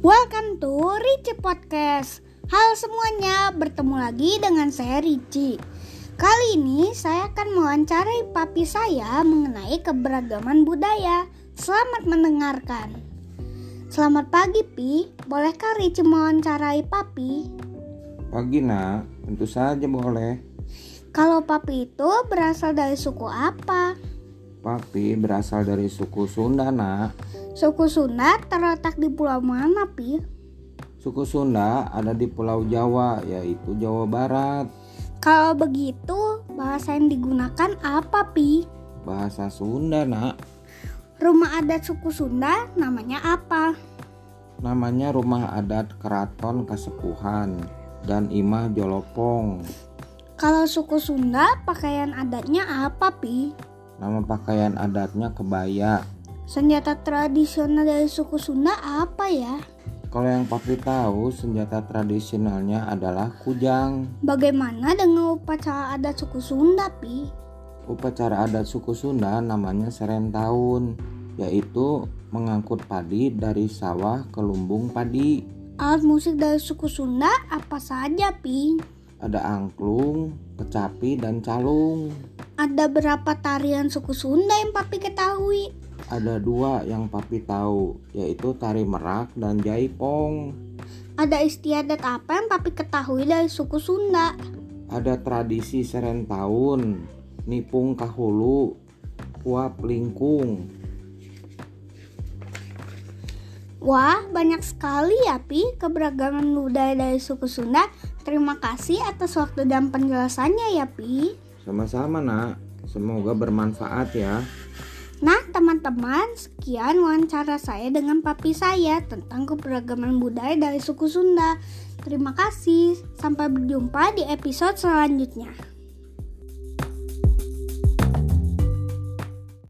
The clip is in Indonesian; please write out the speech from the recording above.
Welcome to Ricci Podcast. Halo semuanya, bertemu lagi dengan saya Ricci. Kali ini saya akan mewawancarai papi saya mengenai keberagaman budaya. Selamat mendengarkan. Selamat pagi, Pi. Bolehkah Ricci mewawancarai papi? Pagi nak, tentu saja boleh. Kalau papi itu berasal dari suku apa? Papi berasal dari suku Sunda nak. Suku Sunda terletak di pulau mana, Pi? Suku Sunda ada di Pulau Jawa, yaitu Jawa Barat. Kalau begitu, bahasa yang digunakan apa, Pi? Bahasa Sunda nak. Rumah adat suku Sunda namanya apa? Namanya Rumah Adat Keraton Kasepuhan dan Imah Jolopong. Kalau suku Sunda, pakaian adatnya apa, Pi? Nama pakaian adatnya kebaya. Senjata tradisional dari suku Sunda apa ya? Kalau yang papi tahu, senjata tradisionalnya adalah kujang. Bagaimana dengan upacara adat suku Sunda, Pi? Upacara adat suku Sunda namanya serentaun, yaitu mengangkut padi dari sawah ke lumbung padi. Alat musik dari suku Sunda apa saja, Pi? Ada angklung, kecapi, dan calung. Ada berapa tarian suku Sunda yang Papi ketahui? Ada dua yang papi tahu, yaitu tari merak dan jaipong. Ada istiadat apa yang Papi ketahui dari suku Sunda? Ada tradisi serentaun, nipung kahulu, puap lingkung, Wah, banyak sekali ya, Pi, keberagaman budaya dari suku Sunda. Terima kasih atas waktu dan penjelasannya ya, Pi. Sama-sama nak, semoga bermanfaat ya. Nah, teman-teman, sekian wawancara saya dengan papi saya tentang keberagaman budaya dari suku Sunda. Terima kasih. Sampai berjumpa di episode selanjutnya.